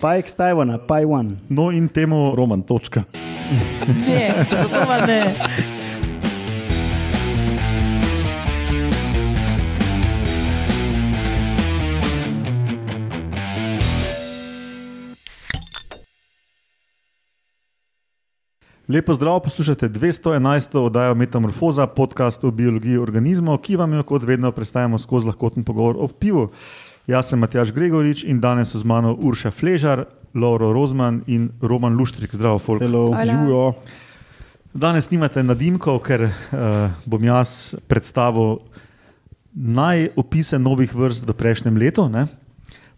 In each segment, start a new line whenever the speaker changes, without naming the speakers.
Pajek z Tajvana, Pajwan.
No in temu Roman, točka.
Ne, zato pa ne.
Lepo zdrav, poslušate 211. oddajo Metamorfoza, podcast o biologiji organizmov, ki vam jo kot vedno predstavljamo skozi lahkoten pogovor o pivu. Jaz sem Matjaš Gregorič in danes so z mano Urša Fležar, Lauro Rozman in Roman Luštrik. Zdravo, Folk.
Hello.
Hvala.
Živijo.
Danes nimate nadimkov, ker uh, bom jaz predstavil najopise novih vrst v prejšnjem letu. ne.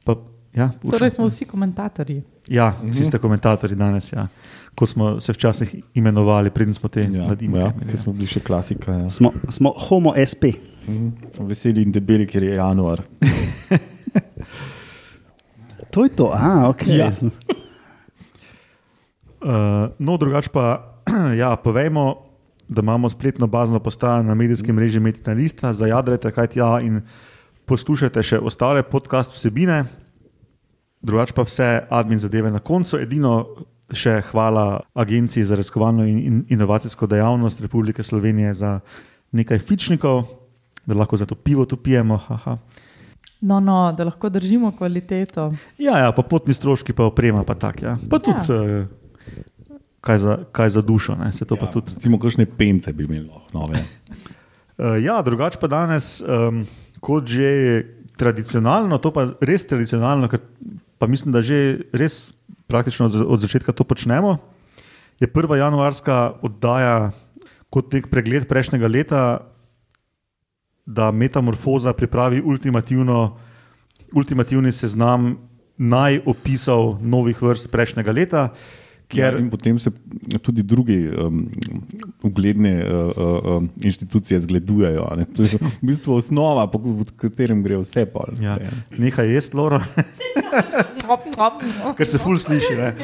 Pa, ja, Urša?
Torej smo vsi komentatorji.
Ja,
Mhm.
vsi ste komentatorji danes. Ja. Ko smo se včasih imenovali, preden smo te ja,
Ja,
nadimke.
ja,
imeli,
ki smo bili še klasika. Ja.
Smo, smo homo SP.
Mhm. Veseli in debeli, ker je januar.
To je to, a ok.
Ja.
Uh, no, drugače pa, ja, povejmo, da imamo spletno bazno postajo na medijskem mreži Metina Lista, zajadrajte kaj tja in poslušajte še ostale podcast vsebine, drugače pa vse admin zadeve na koncu. Edino še hvala Agenciji za raziskovalno in, in inovacijsko dejavnost Republike Slovenije za nekaj fičnikov, da lahko za to pivo tu pijemo. Haha.
No, no, da lahko držimo kvaliteto.
Ja, ja, pa potni stroški, pa oprema, pa tak. Ja. Pa tudi, ja. kaj, za, kaj za dušo, ne, se to ja. pa tudi
Recimo, kakšne pence bi imeli lahko no, nove.
Uh, ja, drugače pa danes, um, kot že tradicionalno, to pa res tradicionalno, ker pa mislim, da že res praktično od, za- od začetka to počnemo. Je prva januarska oddaja kot nek pregled prejšnjega leta, da Metamorfoza pripravi ultimativno, ultimativni seznam najopisov novih vrst prejšnjega leta.
Ker...
Ker,
Ja, In potem se tudi druge um, ugledne uh, uh, um, inštitucije zgledujejo. a ne. To je v bistvu osnova, po pod katerem gre vse pol.
ja, nekaj je, Loro. ker se ful sliši. Ne,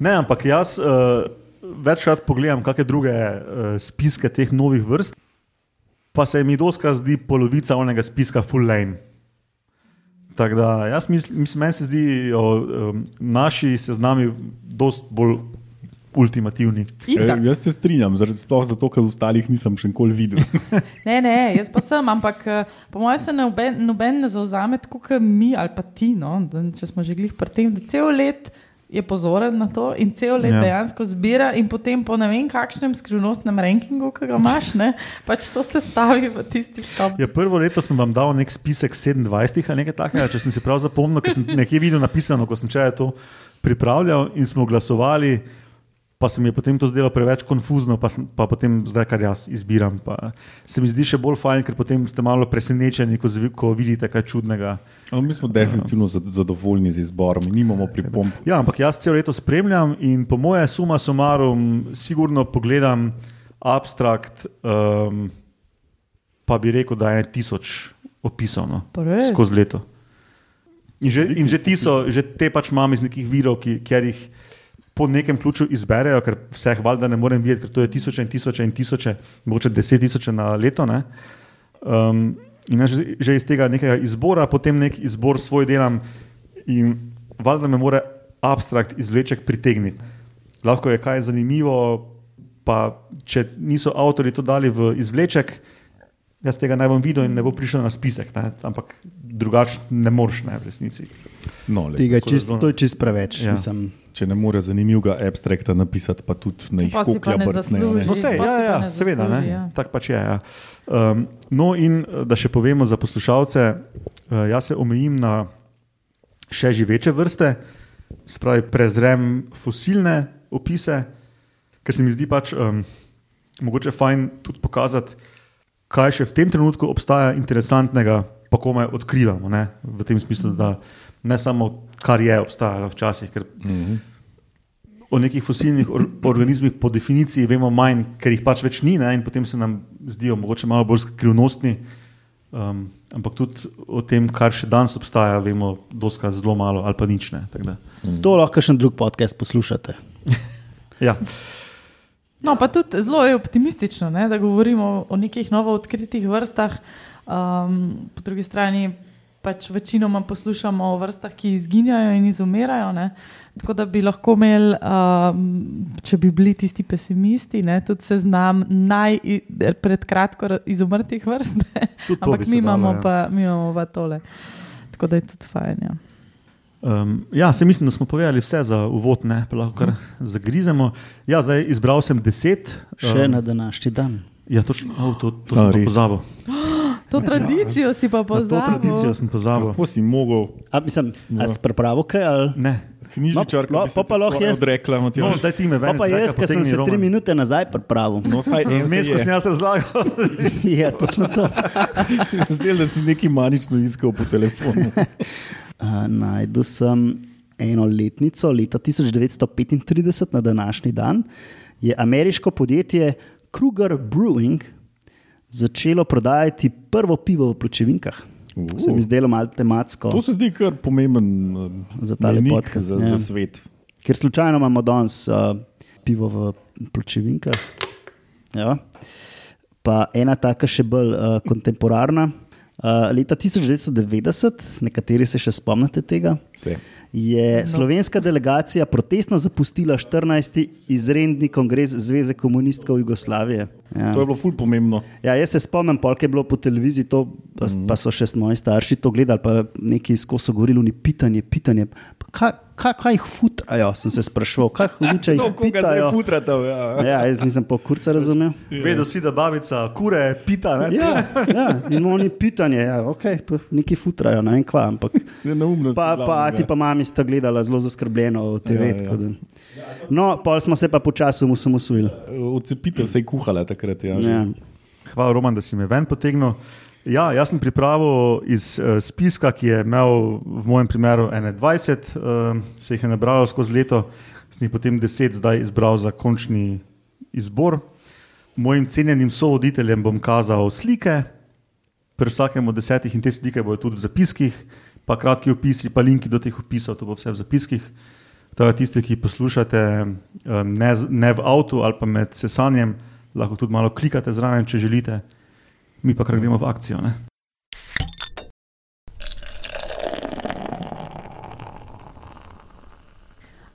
ne ampak jaz uh, večkrat pogledam, kakšne druge uh, spiske teh novih vrst, pa se mi doska zdi polovica onega spiska full lame. Tako da, jaz mislim, mislim meni se zdi, um, naši seznami dosti bolj ultimativni.
E,
Itak.
jaz se strinjam, zaradi- sploh zato, ker ostalih nisem še nikoli videl.
Ne, ne, jaz pa sem, ampak eh, po mojem se noben, noben ne zauzame tako kot mi ali pa ti. No, da če smo že glih pri tem, da cel let je pozoren na to in cel let
Ja.
ja. dejansko zbira in potem po ne vem kakšnem skrivnostnem rankingu, ki ga imaš, ne, pač to sestavi v tisti top.
Ja, prvo leto sem vam dal nek spisek 27 ali nekaj takega, če sem si prav zapomnil, ker sem nekje videl napisano, ko sem včeraj to pripravljal in smo glasovali, pa se mi je potem to zdelo preveč konfuzno, pa, sem, pa potem zdaj, kar jaz izbiram, pa se mi zdi še bolj fajn, ker potem ste malo presenečeni, ko, zvi- ko vidite kaj čudnega.
Ampak No, mi smo definitivno zad- zadovoljni z izborom, mi nimamo pripomb.
Ja, ampak jaz celo leto spremljam in po moje, suma sumarum, sigurno pogledam abstrakt, um, pa bi rekel, da je tisoč opisov no,
Pa res?
skozi leto. In že, in že ti so, že te pač imam iz nekih virov, ki, kjer jih po nekem ključu izberejo, ker vseh valjda ne morem videti, ker to je tisoče in tisoče in tisoče, mogoče deset tisoče na leto. Ne? Um, in jaz že, že iz tega nekega izbora, potem nek izbor svoj delam in valjda me mora abstrakt izvleček pritegniti. Lahko je kaj zanimivo, pa če niso avtori to dali v izvleček, jaz tega ne bom videl in ne bo prišel na spisek, ne? ampak drugače ne moreš, ne v resnici.
No, lej,
Tega, je
Tako da
čist,
zelo-
to je čist preveč. Ja.
Ja.
Mislim,
če ne more zanimivega abstrakta napisati, pa tudi ne jih
Pa si pa
koklja
ne
brcnejo. ne.
zasluži.
No, sej,
pa
ja,
si pa
ja,
ne
seveda,
zasluži,
ne.
ja.
tako pač je. Ja. Um, no, in eh, da še povemo za poslušalce, uh, jaz se omejim na še živeče vrste, spravi prezrem fosilne opise, ker se mi zdi pač um, mogoče fajn tudi pokazati, kaj še v tem trenutku obstaja interesantnega, pa komaj odkrivamo. Ne? V tem smislu, da ne samo kar je obstajalo včasih, ker o nekih fosilnih or organizmih po definiciji vemo manj, ker jih pač več ni, ne? in potem se nam zdijo mogoče malo bolj skrivnostni. Um, ampak tudi o tem, kar še danes obstaja, vemo, doska zelo malo ali pa nič. Ne? Tako da,
to lahko še en drug podcast poslušate.
Ja.
No, pa tudi zelo je optimistično, ne, da govorimo o nekih novo odkritih vrstah, um, po Ehm, drugi strani pač večinoma poslušamo o vrstah, ki izginjajo in izumirajo. Ne? Tako da bi lahko imeli, um, če bi bili tisti pesimisti, ne, tudi seznam naj eh, pred kratko ra- izumrtih vrst. ne.
Tudi to bi
Ampak
se
mi
dalo,
imamo,
ja.
pa, mi imamo pa tole. Tako da je tudi fajn. Ja.
Um, ja, se mislim, da smo povedali vse za uvod, ne pa lahko kar zagrizemo. Ja, zdaj izbral sem deset. um,
Še na današnji dan.
Ja, točno, oh, to, to
Samo
sem pa
res.
pozabil.
To tradicijo si pa
Ja, Na to
poznaš.
tradicijo sem pozabil.
Kako si mogel?
A, mislim,
Ja.
a si pripravo kaj? Ali?
Ne.
Knjižničarka,
No,
bi se
pa
ti
pa lahko
skoraj
jaz-
Odrekla,
No,
Matjaž.
daj ti me
Pa
ven.
pa jaz, ki sem se tri minute nazaj pripravil.
no, vsaj en
Vmes, ko
se
sem
je.
jaz razlagal,
ja, točno to.
Zdel, da si nekaj manično iskal po telefonu.
Uh, najdu sem eno letnico, leta 1935 na današnji dan, je ameriško podjetje Kruger Brewing začelo prodajati prvo pivo v pločevinkah.
Uh.
Se mi zdelo malo tematsko,
To se zdi kar pomemben um,
Za tale
mejnik
podcast,
za,
ja.
za svet.
ker slučajno imamo danes uh, pivo v pločevinkah. Ja. Pa ena taka še bolj uh, kontemporarna. Uh, leta 1990, nekateri se še spomnite tega,
Vse. No.
je slovenska delegacija protestno zapustila 14. izredni kongres Zveze komunistkov Jugoslavije. Ja.
To je bilo ful pomembno.
Ja, jaz se spomnim, polk je bilo po televiziji, to, pa,
Mhm.
mm. pa so še moji starši to gledali, pa neki skozi so govorili, ni pitanje, pitanje. Pa Kaj, kaj, kaj jih futrajo, sem se sprašoval, kaj hudiče jih pitajo.
futratev.
Ja, jaz nisem pa kurca razumel.
vedel si, da babica kure, pita. Ne?
Ja, ja, in oni pitanje, ja, okay, neki futrajo, ne vem kva, ampak
Neumno.
Pa, pa ti pa mami sta gledala zelo zaskrbljeno v TV.
Ja,
Ja,
ja.
ja. No, pol smo se pa počasi osamosvojili.
Odcepitev se je kuhala takrat. Ja,
Ja.
ja.
Hvala, Roman, da si me ven potegnil. Ja, jaz sem pripravil iz uh, spiska, ki je imel v mojem primeru 21, uh, se jih je nabralo skozi leto, sem jih potem 10 zdaj izbral za končni izbor. Mojim cenjenim sovoditeljem bom kazal slike, pri vsakem od desetih in te slike bodo tudi v zapiskih, pa kratki opisi, pa linki do teh opisov, to bo vse v zapiskih. Tako da tisti, ki poslušate em, ne, z- ne v avtu ali pa med sesanjem, lahko tudi malo klikate zraven, če želite. Mi pa kar gremo v akcijo. Ne?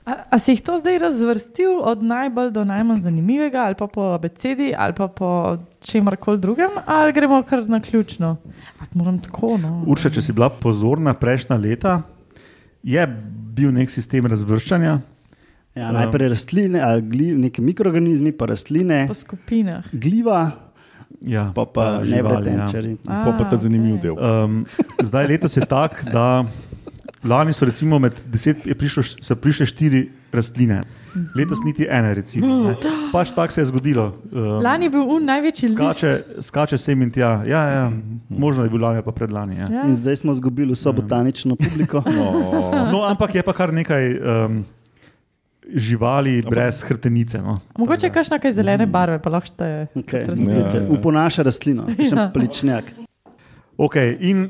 A, a si jih to zdaj razvrstil od najbolj do najmanj zanimivega, ali pa po abecedi, ali pa po čemer koli drugem, ali gremo kar na ključno? A, moram tako. No.
Urša, če si bila pozorna prejšnja leta, je bil nek sistem razvrščanja.
Ja, najprej rastline, ali gli, neki mikroorganizmi, pa rastline,
Po skupinah.
gliva,
Ja,
pa pa
živali, ja.
nevretenčari.
A,
Pa, pa ta zanimiv
okej.
del.
Um, zdaj letos je tako, da lani so recimo med deset je prišlo, š- so prišle štiri rastline, letos niti ene. Recimo, ne. pač tako se je zgodilo. Um,
Lani je bil un največji list.
skače, skače sem in tja. Ja, ja, možno je bilo lani, ali pa predlani. Ja.
In
Ja.
zdaj smo izgubili vso botanično publiko.
No, ampak je pa kar nekaj um, živali brez hrbtenice. No.
Mogoče je kakšna kaj zelene
Mm.
barve, pa lahko šteje.
Okay.
Kot
Ja,
vidite,
ja.
Uponaša rastlino, še
Ja.
pličnjak.
Okay, in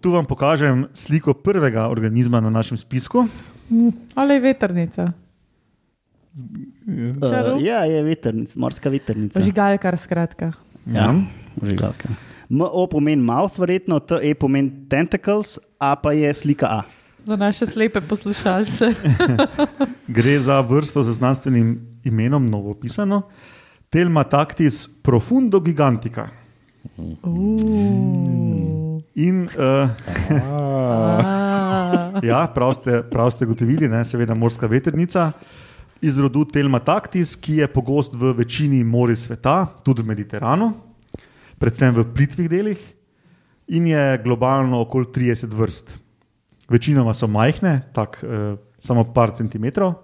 tu vam pokažem sliko prvega organizma na našem spisku.
Ali je veternica,
Uh,
Čarup?
ja, je veternica, morska veternica.
žigalkar skratka.
Ja, žigalka. MO pomeni mouth, verjetno, TE pomeni tentacles, A pa je slika A.
Za naše slepe poslušalce.
Gre za vrsto z znanstvenim imenom, novo pisano, Telma tactis profundo gigantica.
Uh.
In uh,
Ah.
ja, prav ste, prav ste gotovili, ne, seveda morska veternica iz rodu Telma tactis, ki je pogost v večini mori sveta, tudi v Mediteranu, predvsem v plitvih delih, in je globalno okoli 30 vrst. Večinoma so majhne, tako eh, samo par centimetrov.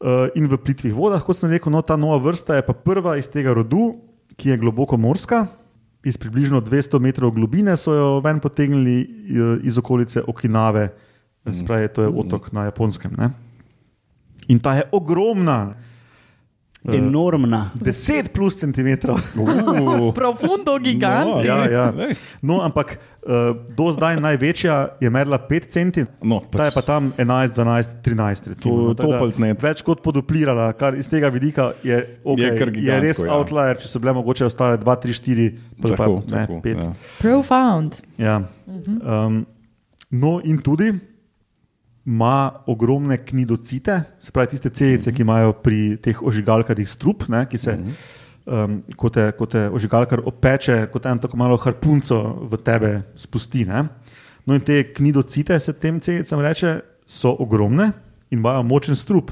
Eh, in v plitvih vodah, kot sem rekel, no, ta nova vrsta je pa prva iz tega rodu, ki je globoko morska. Iz približno 200 metrov globine so jo ven potegnili eh, iz okolice Okinave, eh, se pravi, to je otok na japonskem. Ne? In ta je ogromna. Eh,
Enormna.
10 plus centimetrov.
Uh,
Profundo gigant.
Ja, ja.
Lej.
No, ampak uh, do zdaj največja je merila 5 centi,
No,
ta je pa tam 11, 12, 13. Recimo,
To-
no, tako
to
da
pa ne.
več kot poduplirala, kar iz tega vidika je, okay,
Je kar
je
gigantsko,
res
ja.
outlier, če so bile mogoče ostale 2, 3, 4, pa
Tako,
pa, ne,
tako,
5.
ja.
Profound.
Ja.
Mhm.
Um, no, in tudi ima ogromne knidocite, se pravi tiste
Mhm.
celice, ki imajo pri teh ožigalkarjih strup, ne, ki se, um, ko, te, ko te ožigalkar opeče, kot eno tako malo harpunco v tebe spusti. Ne. No, in te knidocite, se tem celicam reče, so ogromne in imajo močen strup.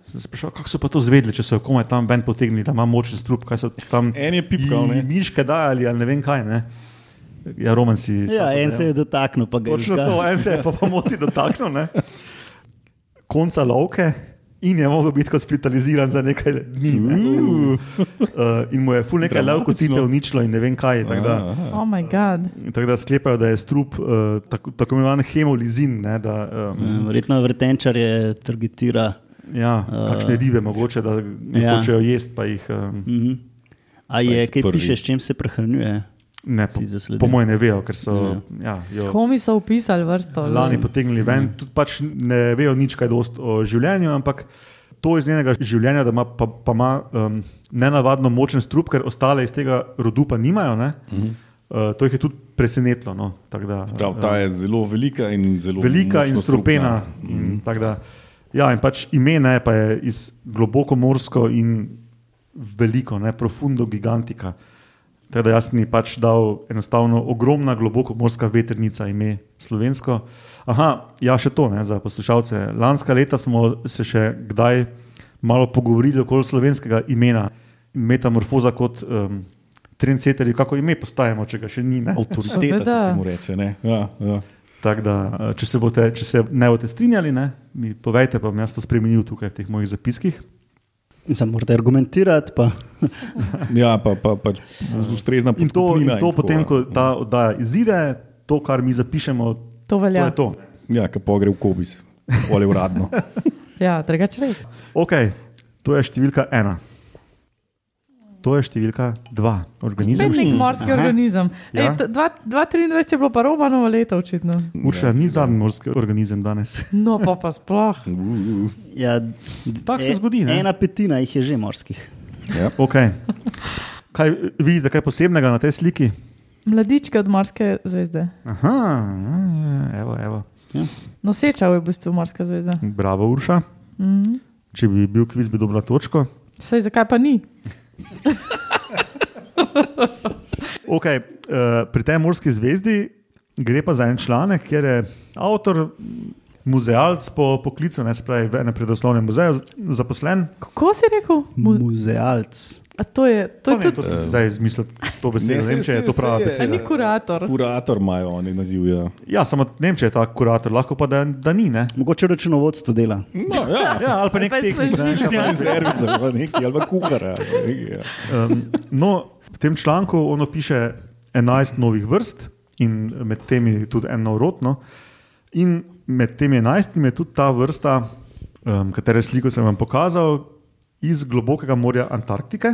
Sem se sprašoval, kako so pa to zvedeli, če so jo komaj tam ven potegnili, da ima močen strup, kaj so tam
En je pipkal, ne.
ji miške dajali ali ne vem kaj. Ne. Ja, Roman si.
Ja,
sam
en
pozajav.
se je dotaknil, pa ga je
Točno
že-
to, en se je pa pomoti dotaknil. Ne? Konca lovke in je mogel biti hospitaliziran za nekaj dni. Ne? Uh, in mu je ful nekaj levkocite
Dramatično.
uničilo in ne vem kaj. Tako da,
Aha.
Oh, moj bog.
Ja.
tako da sklepajo, da je strup uh, tako, tako imenovan hemolizin. Ne, da, um,
Ja, Verjetno vrtenčar je targetira.
ja, kakšne ribe mogoče, da ne
Uh, ja.
ja. hočejo jesti, pa jih um,
Mhm. A je, kaj
prvi.
piše, s čim se prehranjuje?
ne,
Si
po,
zasledil.
po mojem ne vejo, ker so ja, jo,
Komi so upisali vrsto.
lani potegnili ven, tudi pač ne vejo nič kaj dost o življenju, ampak to iz njenega življenja, da ima, pa, pa ima um, nenavadno močen strup, ker ostale iz tega rodu pa nimajo. ne. Uh, to jih je tudi presenetilo. No, tako da,
Prav, ta je zelo velika in zelo
velika in
močno Mhm.
strupena. In tako da, ja, in pač ime ne, pa je iz globoko morsko in veliko, ne, profundo gigantika. Tako da jaz mi pač dal enostavno ogromna globoko morska veternica, ime slovensko. Aha, ja, še to ne, za poslušalce. Lanska leta smo se še kdaj malo pogovorili okoli slovenskega imena, metamorfoza kot um, trendseterji, kako ime postajamo, če ga še ni. Ne?
Avtoriteta se
Seveda.
temu reče. ne. Ja, ja.
Tako da, eh, če se, bote, če se ne boste strinjali, ne, mi povejte, pa bom jaz to spremenil tukaj v teh mojih zapiskih.
Za morda argumentirati, pa
ja pa, pa pač ustrezna
In to, in
podkupnina
to
tako,
potem,
ja.
ko ta oddaja izide, to, kar mi zapišemo,
To
to
velja.
je to.
Ja, ki pogre v kobis, ali uradno.
Ja, drugače res.
Ok, to je številka ena. To je številka dva. Organizem.
Spet nek morski
Aha.
organizem.
Ja.
Ej, to- dva- 2023 je bilo pa robano leto, očitno.
Urša ni zadnji morski organizem danes.
No, pa pa sploh.
ja,
Tako se
e-
zgodi, ne?
Ena petina jih je že morskih.
Ja.
Okay. Kaj vidite, kaj posebnega na tej sliki?
Mladička od morske zvezde.
Aha, ja, ja, evo, evo.
Noseča je v bistvu morska zvezda.
Bravo, Urša.
Mhm.
Če bi bil kviz, bi dobila točko.
Sej, zakaj pa ni?
Okay, uh, pri tej morski zvezdi gre pa za en članek, kjer je avtor, muzealc po poklicu, ne se pravi, v enem predoslovnem muzeju, z- zaposlen.
Kako si rekel? Mu
Muzealc.
A to je, to
To,
je
ne, to
tudi.
sem si zdaj izmislil, to besedo. Ne,
Ne, se-
ne vem, če je ja.
se-
to
se
prava
je.
A
beseda.
ni kurator.
Kurator imajo oni naziv. Ja.
Ja, samo ne vem, če je ta kurator, lahko pa da, da ni. Ne?
Mogoče računovodstvo dela.
No, ja.
Ja, ali pa nek
Pa je ja.
tehnik. ne.
snažilec.
Socialni servis ali Ja, pa nekaj, ali pa kuhar. ali pa nekaj, Ja.
Um, no, v tem članku ono piše 11 novih vrst in med temi tudi eno urotno. no. In med temi 11 je tudi ta vrsta, um, katere sliko sem vam pokazal, iz globokega morja Antarktike,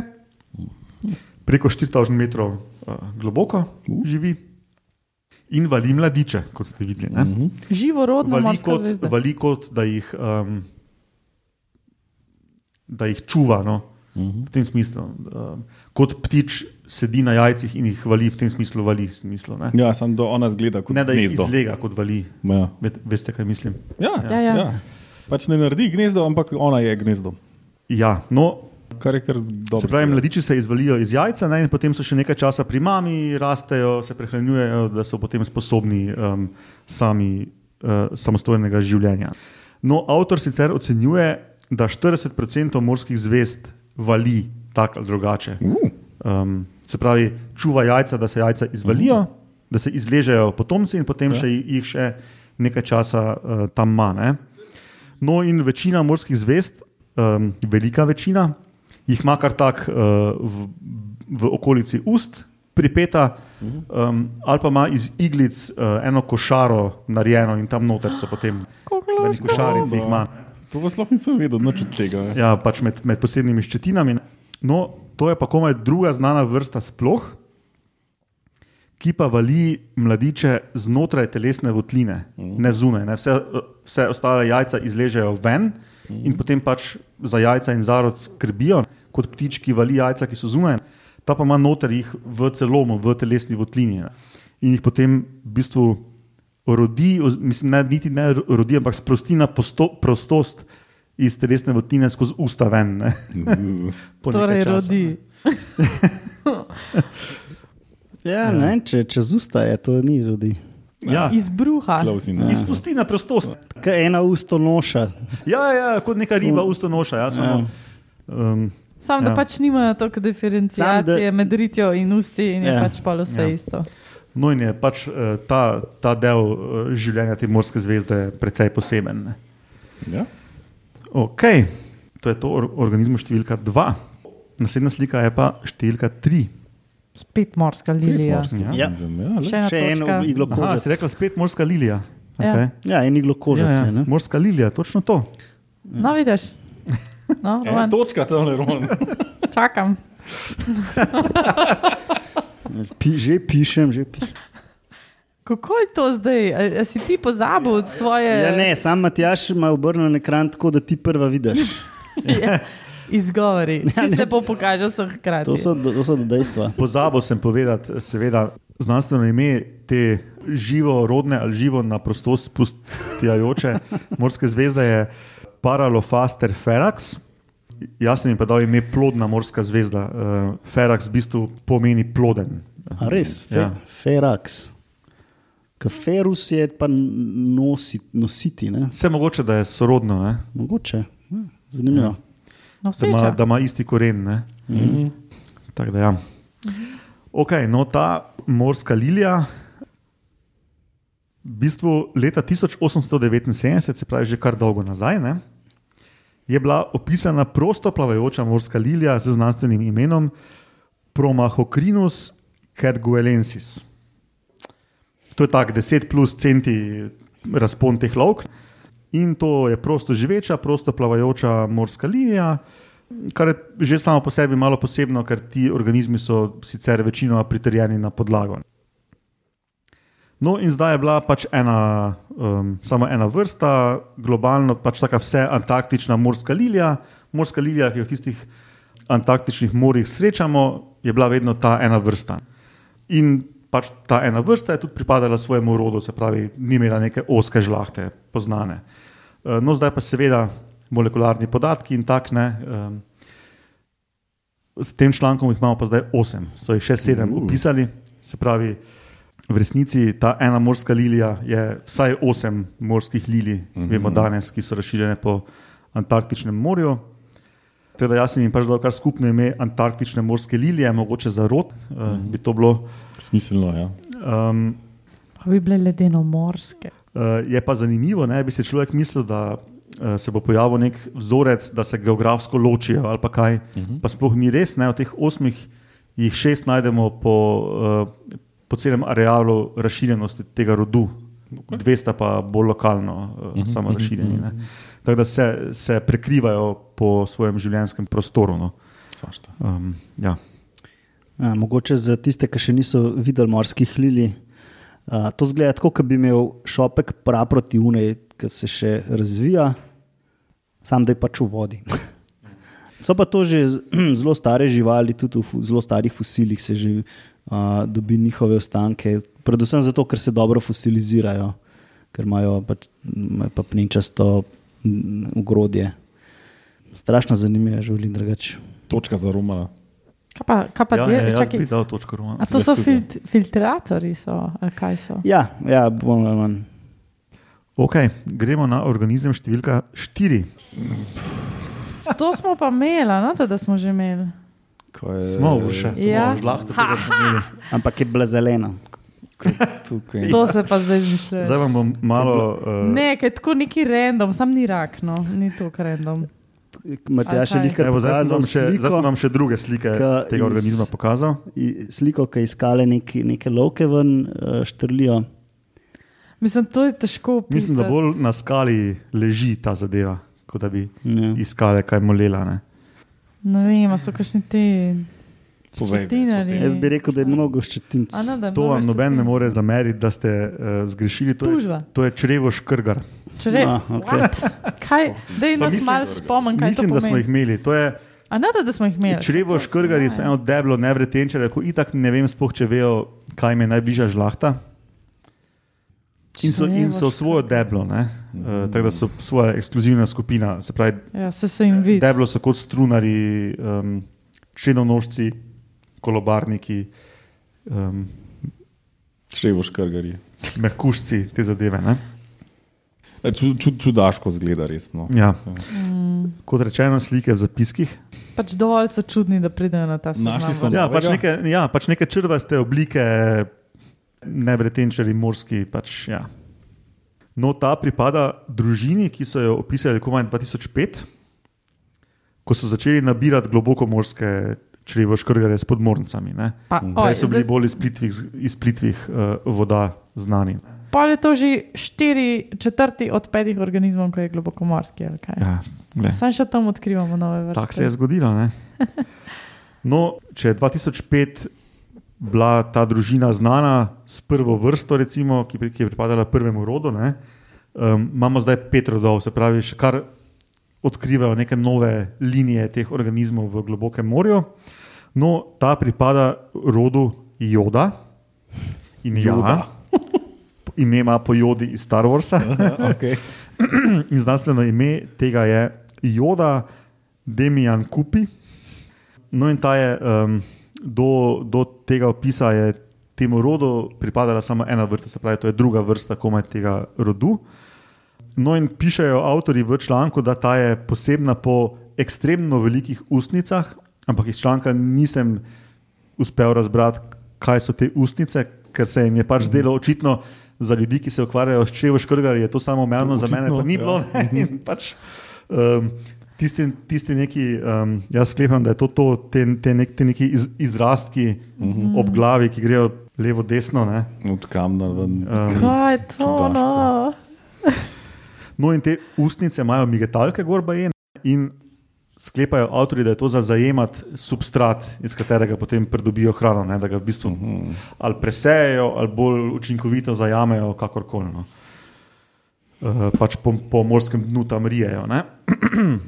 preko 4000 metrov uh, globoko živi. In vali mladiče, kot ste videli. Ne?
Živorodna
vali
morska
kot,
zvezda.
vali kot da, jih, um, da jih čuva. No? Uh
Mhm.
-huh. V tem smislu. Um, kot ptič sedi na jajcih in jih vali, v tem smislu vali. Smislu, ne?
ja, samo da ona zgleda kot
ne da jih
gnezdo.
izlega kot vali.
Ja.
Ve- Veste, kaj mislim?
Ja,
Ja,
ja,
ja.
ja. ja. Pač ne naredi gnezdo, ampak ona je gnezdo.
Ja, no,
Kar je kar dobro.
se pravi,
izgleda.
mladiči se izvalijo iz jajca, ne, in potem so še nekaj časa pri mami, rastejo, se prehranjujejo, da so potem sposobni um, sami, uh, samostojnega življenja. No, avtor sicer ocenjuje, da 40% morskih zvezd vali tako ali drugače. Um, se pravi, čuva jajca, da se jajca izvalijo, uh -huh. da se izležejo potomci in potem ja. še jih- jih še nekaj časa uh, tam ima. ne. No, in večina morskih zvest, um, velika večina, jih ima kar tako uh, v, v okolici ust, pripeta, um, ali pa ima iz iglic uh, eno košaro narejeno in tam noter so potem.
Kako
V eni
lahko?
košarici jih ima.
To pa sploh nisem vedel, nič od tega. Ja.
Ja, pač med, med posebnimi ščetinami. No, to je pa komaj druga znana vrsta sploh, ki pa vali mladiče znotraj telesne votline, mm.
Mhm.
ne zunaj. Ne. Vse, eh, vse ostale jajca izležejo ven mm.
Mhm.
in potem pač za jajca in zarod skrbijo, kot ptič, ki vali jajca, ki so zunaj. Ta pa ima noter jih v celomu, v telesni votlini ne. in jih potem v bistvu rodi, oz- mislim, ne, niti ne rodi, ampak sprosti na posto, prostost iz telesne votline skozi usta ven. ne. Po nekaj
Torej,
časa,
rodi.
ne.
Ja, ne, vem, če čez usta je, to ni rodi.
Ja,
Izbruha.
Close enough.
izpusti na prostost.
Kaj ena usto noša.
Ja, ja, kot neka riba usta noša. Ja, samo, um,
Sam da
Ja.
pač nimajo toliko diferencijacije
Samo da-
med ritjo in usti, in je
Ja.
pač pa vse
Ja.
isto.
no, in je pač eh, ta, ta del eh, življenja te morske zvezde precej poseben. Ne?
Ja?
Ok, to je to or organizmu številka 2. Naslednja slika je pa številka 3.
Spet morska lilija.
Morski
Ja.
organizem, ja, le.
Še ena
Še eno
točka.
iglo
Aha, si
kožac.
rekla spet morska lilija. Okay.
Ja, en iglo kožac.
ja, ja.
Ja,
Morska lilija, točno to.
No, vidiš. No,
E,
Ena
Roman,
E, točka tam le ron.
čakam.
ja. Pi, že pišem, že pišem.
Kako je to zdaj? A, a si ti pozabil od svoje
Ja, ne, sam Matjaš ima obrnjen ekran tako, da ti prva vidiš.
Ja, izgovori? Čisto
ne.
lepo pokažeš vse hkrati.
To so, to so dejstva.
Pozabil sem povedati, seveda, znanstveno ime te živo rodne ali živo na prostost spustijajoče morske zvezde je Paralofaster ferax. Jaz sem jim pa dal ime plodna morska zvezda. Eh, Ferax v bistvu pomeni ploden.
A res, fe, ja.
Ja.
ferax. Ka ferus je pa nosi, nositi, ne?
Vse mogoče, da je sorodno, ne?
mogoče. Ja, zanimivo. Ja.
no,
da, ima,
sreča.
da ima isti koren. Ne?
Mhm.
Tako da ja. Okay, no, ta morska lilija, v bistvu leta 1879, se pravi že kar dolgo nazaj, ne, je bila opisana prosto plavajoča morska lilija z znanstvenim imenom Promahocrinus kerguelensis. To je tak 10 plus centi razpon teh lovk. In to je prosto živeča, prosto plavajoča morska linija, kar je že samo po sebi malo posebno, ker ti organizmi so sicer večinoma pritrjeni na podlago. No, in zdaj je bila pač ena, um, samo ena vrsta, globalno pač taka vse antarktična morska lilija. Morska lilija, ki jo v tistih antarktičnih morjih srečamo, je bila vedno ta ena vrsta. In pač ta ena vrsta je tudi pripadala svojemu rodu, se pravi, ni imela neke oske žlahte, poznane. Eh, No, zdaj pa seveda molekularni podatki in tak ne. um, em, S tem člankom jih imamo pa zdaj osem, so jih še sedem
Uh.
upisali, se pravi. V resnici ta ena morska lilija je vsaj osem morskih lilij, mm -hmm. vemo danes, ki so razširjene po Antarktičnem morju. Teda jaz sem jim pač dal kar skupno ime Antarktične morske lilije, mogoče za rod, mm -hmm. bi to bilo.
Smiselno, ja.
Um,
Pa bi bile ledeno morske.
Uh, je pa zanimivo, ne bi si človek mislil, da uh, se bo pojavil nek vzorec, da se geografsko ločijo ali pa kaj. Uh -huh. Pa sploh ni res, ne, od teh osmih jih šest najdemo po, uh, po celem arealu razširjenosti tega rodu. Okay. Dve sta pa bolj lokalno, uh, uh -huh. samo razširjeni. Ne. Tako da se, se prekrivajo po svojem življenjskem prostoru. No.
Svašta.
Um, ja.
Ja, mogoče za tiste, ki še niso videli morskih lili. Uh, to zgleda tako, kot bi imel šopek prav proti unej, ki se še razvija, sam da je pač v vodi. So pa to že z- zelo stare živali, tudi v fu- zelo starih fosilih se že uh, dobi njihove ostanke, predvsem zato, ker se dobro fosilizirajo, ker imajo pač m, papnečasto m, ogrodje. Strašno zanimivo je življenje drugače.
Točka za Romana.
Kaj pa, kaj pa
ja,
del,
ne, jaz
čakaj,
bi dal točko Romana.
a to so
Zastupa.
fil, filtratori, so, ali kaj so?
Ja, ja bom manj.
Okay, gremo na organizem številka 4.
To smo pa imeli, no, da, da smo že imeli.
Ko je-
Smo v še,
Ja.
smo žlahte, tega smo imeli.
ampak je bila zelena.
Tukaj.
To se pa zdaj zmišljuje.
Zdaj vam bom malo. Uh,
Ne, ker je tako neki random, sam ni rak, no, ni to random.
Matjaž je
Ali kaj?
lihkar
Evo, zdaj sem
pokazal
vam še, zdaj sem
sliko,
vam še druge slike
Ka
tega
iz-
organizma pokazal.
i- sliko, ki je iskala neki, neke lovke ven, eh, štrlijo.
Mislim, to je težko opisati.
Mislim, da bolj na skali leži ta zadeva, Tako da bi
Ja.
iskali kaj molela. Ne.
Ne vem, a so kakšni ti.
Povej več o
ščetinarji?
tem.
Jaz bi rekel, da je mnogo ščetinc.
A no- ne, da je
To
mnogo
vam noben ne
ščetinc?
more zameriti, da ste uh, zgrešili. To je,
Spužva.
to je črevo škrgar.
Če re,
Ah, okej.
Kaj, dej
Pa
nas
mislim-
malo spomni, kaj
Mislim,
to
da smo jih
pomeni.
imeli. To je
A ne, da, da smo jih imeli.
črevo škrgar, je eno deblo, nevretenčare, ko itak ne vem, spoh, če vejo, kaj jim je najbližja žlahta. In so, in so
Črevo
svojo deblo, ne, eh, tako da so svoja ekskluzivna skupina. Se pravi,
Ja, se se jim vidi.
deblo so kot strunari, um, črnonožci, kolobarniki, um,
Črevo škrgari.
mehkušci, te zadeve. Ne.
E, Ču, ču, čudaško zgleda, no. resno.
Ja. Kot rečeno, slike v zapiskih.
Pač dovolj so čudni, da pridejo na ta seznam.
Našli so
vrst.
Ja, pač
Novega?
neke, ja, pač neke črvaste oblike, ne bretenčari, morski. Pač, ja. No, ta pripada družini, ki so jo opisali komaj 2005, ko so začeli nabirati globoko morske črevo škrgare s podmornicami. ne.
Pa, oj,
Mm. Prej so bili
zdaj,
bolj iz plitvih, iz plitvih uh, voda znani.
pol je to že štiri četrti od petih organizmov, ko je globokomorski. ali kaj.
Ja, glej.
Sam še tam odkrivamo nove vrste.
Tako se je zgodilo. Ne? No, če je 2005 bila ta družina znana s prvo vrsto, recimo, ki, pri- ki je pripadala prvemu rodu, ne, um, imamo zdaj pet rodov, se pravi, še kar odkrivajo neke nove linije teh organizmov v globokem morju. No, ta pripada rodu Joda in Joda.
Joda.
Ime ima po Jodi iz Star Warsa.
Okay.
In znanstveno ime tega je Joda, Demian Kupi. No, in ta je um, do, do tega opisa, je temu rodu pripadala samo ena vrsta, se pravi, to je druga vrsta komaj tega rodu. No, in pišejo avtori v članku, da ta je posebna po ekstremno velikih ustnicah, ampak iz članka nisem uspel razbrati, kaj so te ustnice, ker se jim je
Mhm.
pač zdelo očitno. Za ljudi, ki se ukvarjajo s čevo škrgar, je to samo omejeno, za mene pa
Očitno,
ni
ja.
bilo. ne. In pač, um, tisti, tisti neki, um, jaz sklepam, da je to, to te, te, nek, te neki iz, izrastki
Mhm.
ob glavi, ki grejo levo, desno. Ne.
Od kamna ven.
Um,
Kaj je to?
Čudaško.
No?
No, in te ustnice imajo migetalke, gorba je. In sklepajo avtori, da je to za zajemati substrat, iz katerega potem pridobijo hrano, ne, da ga v bistvu hmm, ali presejejo, ali bolj učinkovito zajamejo, kakorkoli. No. Eh, Pač po, po morskem dnu tam rijejo. Ne.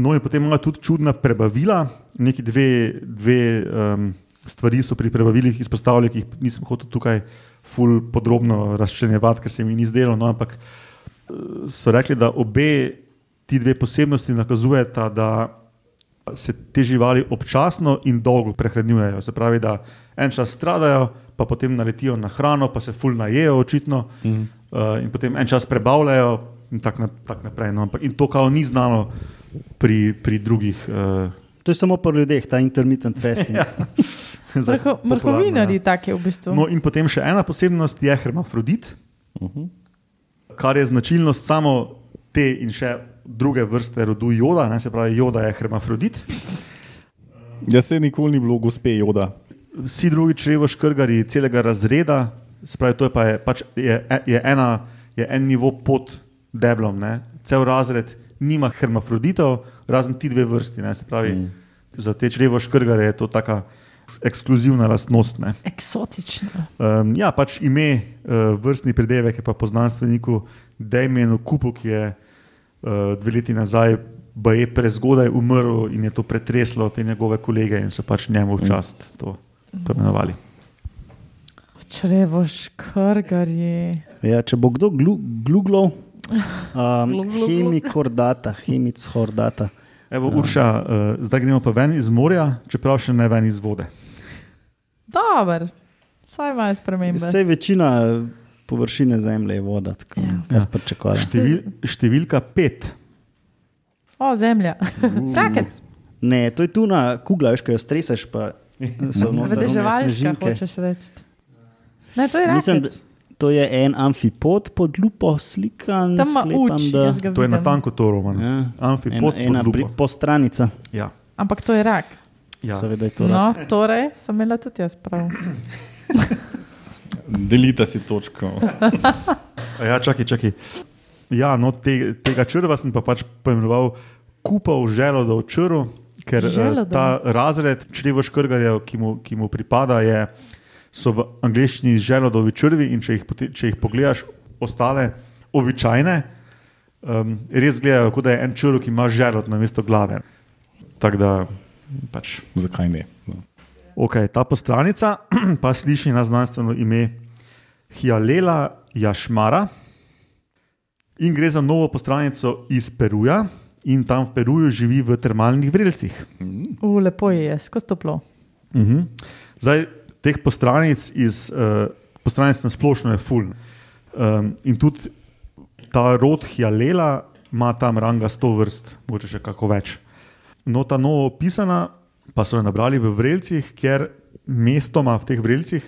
No, in potem imajo tudi čudna prebavila, neki dve, dve um, stvari so pri prebavilih izpostavljali, ki jih nisem hotel tukaj ful podrobno razčlenjevati, ker se mi ni zdelo. No, ampak eh, so rekli, da obe ti dve posebnosti nakazujeta, da se te živali občasno in dolgo prehranjujejo. Se pravi, da en čas stradajo, pa potem naletijo na hrano, pa se ful najejo, očitno, mm. uh, in potem en čas prebavljajo, in tako na, tak naprej. No. Ampak, in to, kar ni znano pri, pri drugih. Uh,
To je samo pri ljudeh, ta intermittent fasting.
Ja. zdaj
Mrho,
popularno,
mrhovinari
ja.
take v bistvu.
No, in potem še ena posebnost je hermafrodit, kar je značilnost samo te in še druge vrste rodu joda, ne, se pravi, joda je hermafrodit.
Jaz se nikoli ni bilo gospe Joda.
vsi drugi črevo škrgari celega razreda, spravi to je pa je, pač je, je, ena, je en nivo pod deblom, ne? cel razred nima hermafroditov, razen ti dve vrsti. Ne? Se pravi, mm. za te črevo škrgare je to taka s- ekskluzivna lastnost. Ne?
Eksotično.
Um, ja, pač ime, uh, vrstni pridevek je pa po znanstveniku Damienu Kupu, ki je uh, dve leti nazaj. Ba je prezgodaj umrl in je to pretreslo te njegove kolege, in so pač njemu v čast to poimenovali.
Črevo škrgarji.
Ja, če bo kdo glu, gluglov, um,
Glu, glu, glu.
hemikordata, hemicordata.
Evo,
Ja.
Urša, uh, zdaj gremo pa ven iz morja, čeprav še ne ven iz vode.
Dober, vsaj malo spremembe.
Vse večina e, površine zemlje je voda, tako
Ja.
da ja. sem pričakoval.
Števil, številka pet.
O, zemlja.
Mm.
Rakec,
Ne, to je tuna kugla, veš, ko jo streseš, pa so noter one
vedeževalska,
snežinke.
hočeš reči. Ne, to je
Mislim,
rakec.
To je en amfipod pod lupo slikan,
Tam ima
sklepam,
uč,
da
jaz ga
To je na
vidim.
tanko to roman.
Ja.
Amfipod
ena, ena
pod
pri,
lupo.
postranica.
Ja.
Ampak to je rak.
Ja.
Ja.
Seveda je to. No.
No, torej sem imela tudi jaz prav.
Delita si točko.
A ja, čakaj, čakaj. Ja, no, te, tega črva sem pa pač poimenoval kupov želodov črv, ker eh,
Želodov.
ta razred črevo škrgarjev, ki mu, ki mu pripada, je, so v angleščini želodovi črvi in če jih, pote- če jih pogledaš, ostale običajne, um, res gledajo, kot da je en črv, ki ima želod na mesto glave. Tako da pač.
Zakaj ne? No.
Okay, ta postranica pa sliši na znanstveno ime Hialela Jašmara in gre za novo postranico iz Peruja in tam v Peruju živi v termalnih vrelcih.
U, lepo je, je, skozi toplo.
Mhm. Zdaj, teh postranic, iz, uh, postranic na splošno je ful. Um, in tudi ta rod Hjalela ima tam ranga 100 vrst, mogoče še kako več. No, ta novo opisana pa so jo nabrali v vrelcih, kjer mestoma v teh vrelcih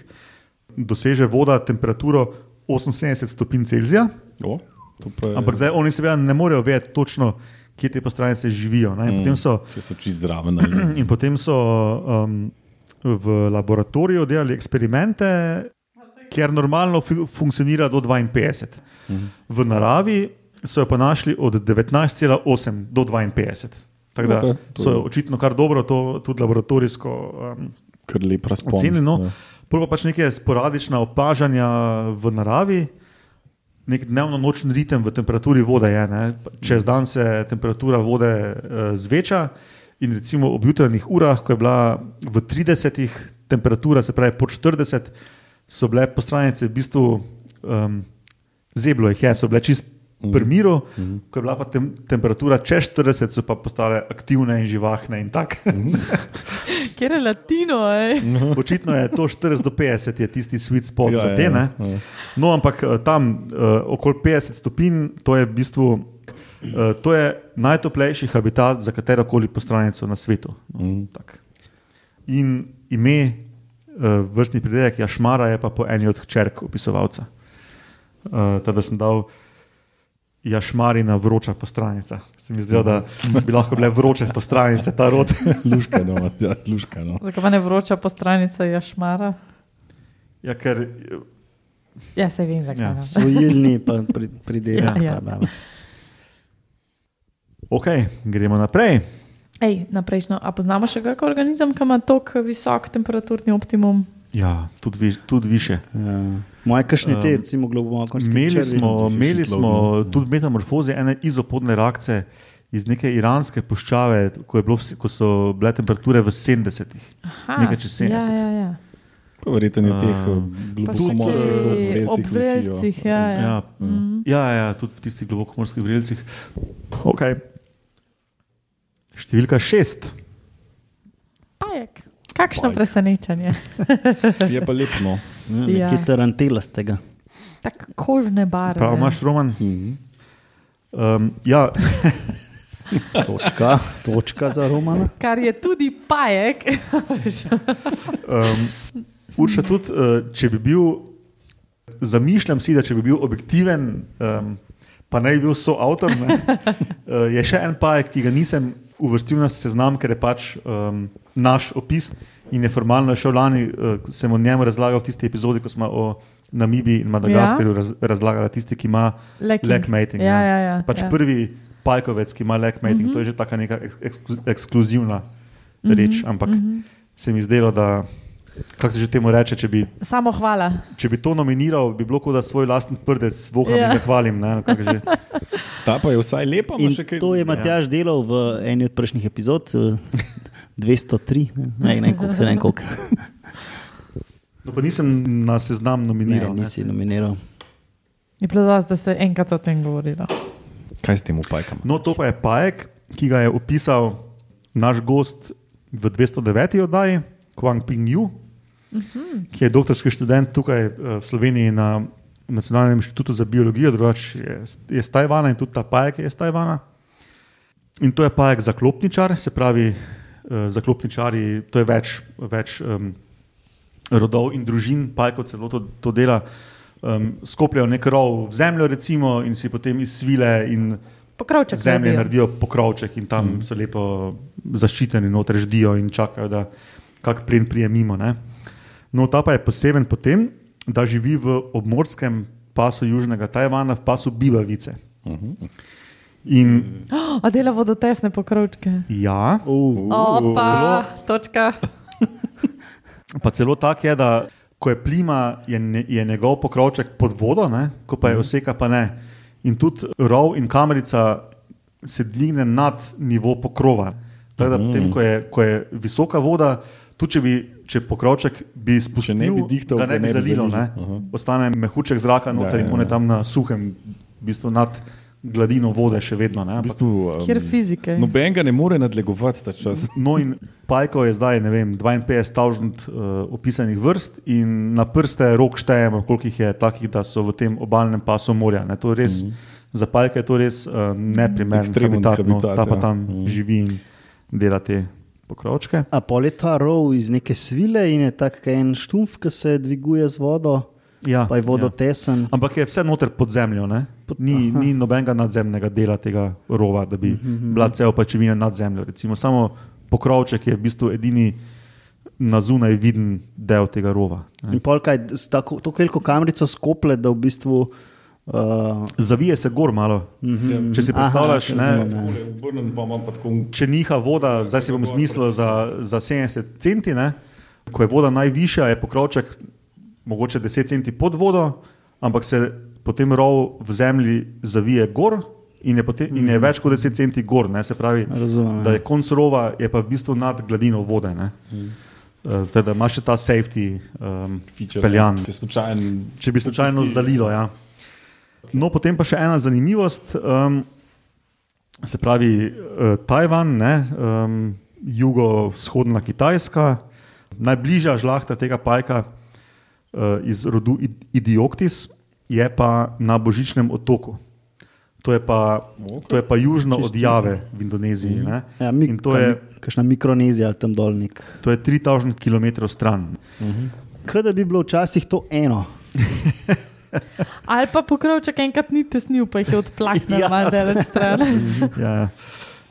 doseže voda temperaturo 78 stopinj Celzija.
O, to pa je-
Ampak zdaj oni seveda ne morejo vedeti točno, kje te postranice živijo. Ne? In
Mm.
Potem so
Če so čist zraven. ali-
In potem so um, v laboratoriju delali eksperimente, kjer normalno fu- funkcionira do 52.
Mhm.
V naravi so jo pa našli od 19,8 do 52. Tako da
Okej,
okay,
to
so jo
je-
očitno kar dobro to tudi laboratorijsko um,
Kar lep razpon.
ocenili. No.
Ja.
Prvo pač neke sporadična opažanja v naravi. Nek dnevno-nočen ritem v temperaturi vode je. Ne? Čez dan se temperatura vode uh, zveča, in recimo ob jutranjih urah, ko je bila v 30, temperatura, se pravi pod 40, so bile postranice v bistvu um, zeblo, jih je, so bile čist pri miru, mm -hmm. ko je bila pa tem, temperatura čez 40, so pa postale aktivne in živahne in tako.
Kjer je latino, ej?
No. Očitno je to 40 do 50, je tisti sweet spot
Ja,
ja, za
ja,
te. Ja,
ja.
ja. No, ampak eh, tam eh, okoli 50 stopinj, to je v bistvu eh, to je najtoplejši habitat za katero koli postranico na svetu. No,
Mhm.
mm. In ime, eh, vrstni pridelek Jašmara je pa po eni od hčerk opisovalca. Eh, Tako da sem dal. Jašmarina vroča postranica. Se mi zdelo, da bi lahko bile vroče postranice, ta rod.
Luška, no, ja, luška, no.
Zakaj pa ne vroča postranica jašmara?
Ja, ker eh,
Ja, se vem, zakaj.
Ja.
Ja.
Svojilni pa pri, pridelek.
Ja, ja.
Ja, ja.
Ok, gremo naprej.
Ej, naprejšnjo, a poznamo še kak organizem, ki ima tako visok temperaturni optimum?
Ja, tudi, vi, tudi više.
Ja. Moje kašne te,
Um,
recimo globokonske
Imeli smo,
tiši
imeli
tlo,
smo
ne.
tudi metamorfoze ene izopodne reakcije iz neke iranske puščave, ko, je bilo, vse- ko so bile temperature v 70-ih.
Aha,
Nekaj čez 70.
Ja, ja, ja.
Pa Verjetno je teh
Um,
Pa
globoko
še kje ob
obveljcih.
vrelcih. Ja, ja.
Ja, ja, ja, tudi v tistih globokomorskih vrelcih. Okay. Številka šest.
Pajek. Kakšno
Pajek.
Pajek. presenečenje.
Je pa no. lepo.
Mm.
Ja,
Nekaj tarantela z tega.
Tako kožne barve.
Prav imaš, Roman?
Mhm.
Um, ja,
Točka, točka za Romana.
Kar je tudi pajek.
Um, Urša, tudi eh, če bi bil, zamišljam si, da če bi bil objektiven, um, pa ne bi bil soavtor, ne, eh, je še en pajek, ki ga nisem uvrstil na seznam, ker je pač um, naš opis in je formalno šel lani, uh, sem o njem razlagal v tisti epizodi, ko smo o Namibiji in Madagaskarju ja. raz, razlagali, tisti, ki ima
Leking.
lekmating.
Ja, ja, ja,
pač
ja. Mhm.
prvi pajkovec, ki ima lekmating, mm -hmm. to je že taka neka eks, eksklu- ekskluzivna reč, ampak mm
Mhm.
-hmm. se mi zdelo, da kako se že temu reče, če bi,
Samo hvala.
če bi to nominiral, bi bilo kot da svoj lasten prdec voham
Ja.
yeah. in ga hvalim. Ne, no, kako že,
Ta pa je vsaj lepa, ima
In
še kaj.
to je
ja.
Matjaž delal v eni od prejšnjih epizod, eh, 203, ne, ne, koliko se ne, vem, koliko.
no, pa nisem na seznam
Ne,
nominiral. Ne,
nisi nominiral.
Je bilo dosti, da se enkrat o tem govorilo.
Kaj s tem upajkam?
no, to pa je pajek, ki ga je opisal naš gost v 209. oddaji, Kwang Ping Yu, ki je doktorski študent tukaj eh, v Sloveniji na Nacionalnem inštitutu za biologijo, drugače je, je iz Tajvana in tudi ta pajek je iz Tajvana. In to je pajek zaklopničar, se pravi, eh, zaklopničari, to je več, več um, rodov in družin, pajkov celo to, to dela. Um, skopljajo nek rov v zemljo, recimo, in si potem iz svile in
Pokrovček.
zemlje
naredijo.
naredijo pokrovček in tam mm. so lepo zaščiteni, noter ždijo in čakajo, da kak plen prije mimo. Ne? No, ta pa je poseben po tem, da živi v obmorskem pasu južnega Tajvana, v pasu Bibavice. In
A dela vodotesne pokrovčke.
ja,
Opa, točka.
pa celo tak je, da ko je plima, je, ne, je njegov pokrovček pod vodo, ne? ko
Mhm.
pa je oseka, pa ne. In tudi rov in kamerica se dvigne nad nivo pokrova. Tako
Mhm.
da, potem, ko je, ko je visoka voda, tudi če bi. Če pokrovček bi spustil,
ne bi dihtal,
ga ne bi zalilo, ne?
Aha.
ostane mehurček zraka noter
ja,
in on je
ja.
tam na suhem, v bistvu nad gladino vode še vedno. Ne?
V
Ampak-
bistvu,
Kjer fizike.
Noben ga ne more nadlegovati ta čas.
No, in pajkov je zdaj, ne vem, 52.000 uh, opisanih vrst, in na prste rok štejemo, koliko jih je takih, da so v tem obalnem pasu morja. Ne, to je res, mm
Mhm.
-hmm. Za pajke je to res uh, neprimerno,
Ekstremen
habitat, no,
habitat,
ta pa
ja.
tam
Mhm.
mm. živi in dela te pokrovčke.
A pol je ta rov iz neke svile in je tak kot en štumf, ki se dviguje z vodo,
Ja,
pa je vodotesen.
Ja. Ampak je vse noter pod zemljo, ne? ni, ni nobenega nadzemnega dela tega rova, da bi
Mhm,
bila cel pačevina nad zemljo. Recimo, samo pokrovček je v bistvu edini na zunaj viden del tega rova. Ne?
In pol kaj, s tako to veliko kamerico skople, da v bistvu. Uh,
Zavije se gor malo.
Mhm.
Če si
Aha, ja.
predstavljaš,
ker
ne,
zunaj.
Obrnen pa imam pa tako.
če niha voda, zdaj si bom zmislil za, za 70 centi, ne, ko je voda najvišja, je pokrovček mogoče 10 centi pod vodo, ampak se potem rov v zemlji zavije gor. In je, potem, in je več kot 10 centi gor, ne, se pravi,
Mhm. Razumem, ja.
da je konc rova, je pa v bistvu nad gladino vode. ne.
Mhm.
Eh, Teda ima še ta safety um,
Feature,
peljan.
Če slučajno.
Če bi slučajno Popusti.
Popusti.
zalilo. Ja. No, potem pa še ena zanimivost, um, se pravi uh, Tajvan, ne, um, jugovzhodna Kitajska, najbližja žlahta tega pajka uh, iz rodu Id- Idioktis je pa na Božičnem otoku. To je pa, to je pa južno od Jave v Indoneziji. ne.
ja,
In to je,
Kakšna mikronezija ali tam dolnik.
to je 3000 km stran.
Kaj da bi bilo včasih to eno.
Ali pa pokrovček enkrat ni tesnil, pa jih je odplaknil,
Ja,
ja, da je stran.
ja, ja.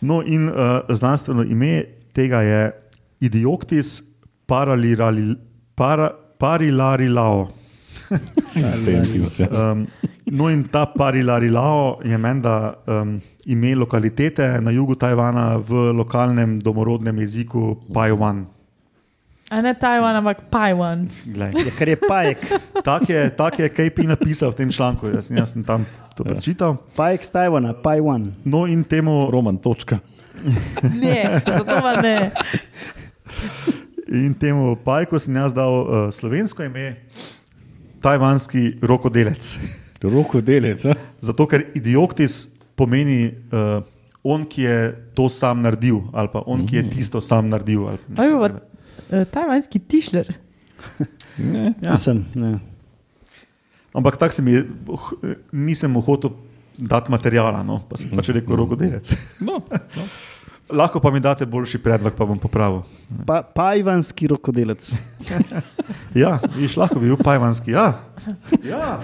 No, in uh, znanstveno ime tega je Idioktis paralirali- para- parilarilao. Um, no, in ta parilarilao je menda um, ime lokalitete na jugu Tajvana v lokalnem domorodnem jeziku Pajwan.
A ne Tajvan, ampak Pajvan.
Glej.
Ja, ker je pajek,
Tak je, tak je KP napisal v tem članku, jaz, sem- jaz sem tam to prečital.
pajek z Tajvana, Pajwan.
No, in temu
Roman, točka.
Ne, zato pa ne.
In temu pajku sem jaz dal uh, slovensko ime, tajvanski rokodelec.
Roko delec. a?
Zato, ker idioktis pomeni uh, on, ki je to sam naredil, ali pa on, ki je tisto sam naredil. ali pa
Ali
nekaj
pa
takega.
eh, tajvanski tišler.
Ne.
Ja.
Ja.
Mislim, ne.
Ampak tako se mi je, oh, nisem mu hotel dati materijala, no? pa sem pač rekel rokodelec.
No, no.
Lahko pa mi date boljši predlog, pa bom popravil.
Pa, pajvanski rokodelec.
Ja, viš, lahko bi bil tajvanski. Ja. Ja.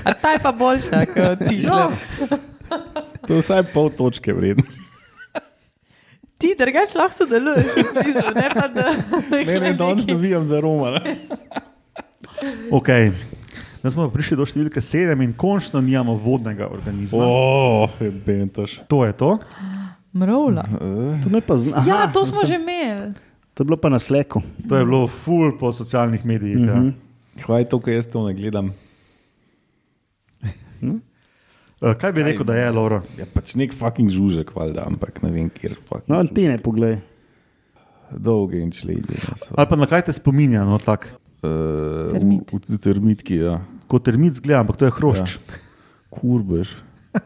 A ta je pa boljša kot tišler.
To je vsaj pol točke vredno.
Ti drugače lahko sodeluješ, v blizu, ne pa da
Ne, ne, danes navijam za Roma.
Okay. Zdaj smo pa prišli do številke sedem in končno nimamo vodnega organizma.
Oh, je bentaš.
To je to.
Mrovla.
To, me pa zna, aha,
Ja, to smo že imeli.
to je bilo pa na sleku.
To je bilo ful po socialnih medijih. Mm -hmm.
Hvala, to, kar jaz to ne gledam.
ja. Kaj bi Kaj? rekel, da je Laura?
Je pač nek fucking žužek, valjda, ampak ne vem, kjer. fucking
No, ti ne poglej.
žužek. Dolge in člejde.
Ali pa na kaj te spominja, no, tak,
Termit.
Uh, termitki, ja.
kot termit zgleda, ampak to je hrošč.
Kurbež.
Ja.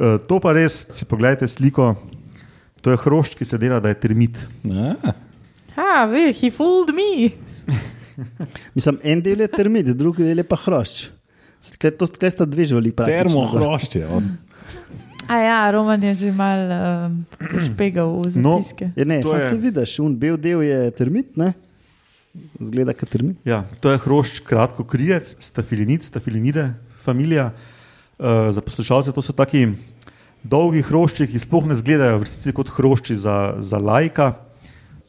Uh, to pa res, si pogledajte sliko, to je hrošč, ki se dela, da je termit.
Ja.
Ha, ve, he fooled me.
Mislim, en del je termit, drugi del je pa hrošč. Tukaj, to, tukaj sta dve živali. praktično.
Termohrošče.
A ja, Roman je že mal um, špegal v
No,
zapiske.
Ja, ne,
To
sam
je-
se vidiš, un bel del je termit, ne? Zgleda, kot termit.
Ja, to je hrošč, kratko krijec, stafilinid, stafilinide, familija. Uh, za poslušalce to so taki dolgi hrošči, ki sploh ne izgledajo v resnici kot hrošči za, za lajka.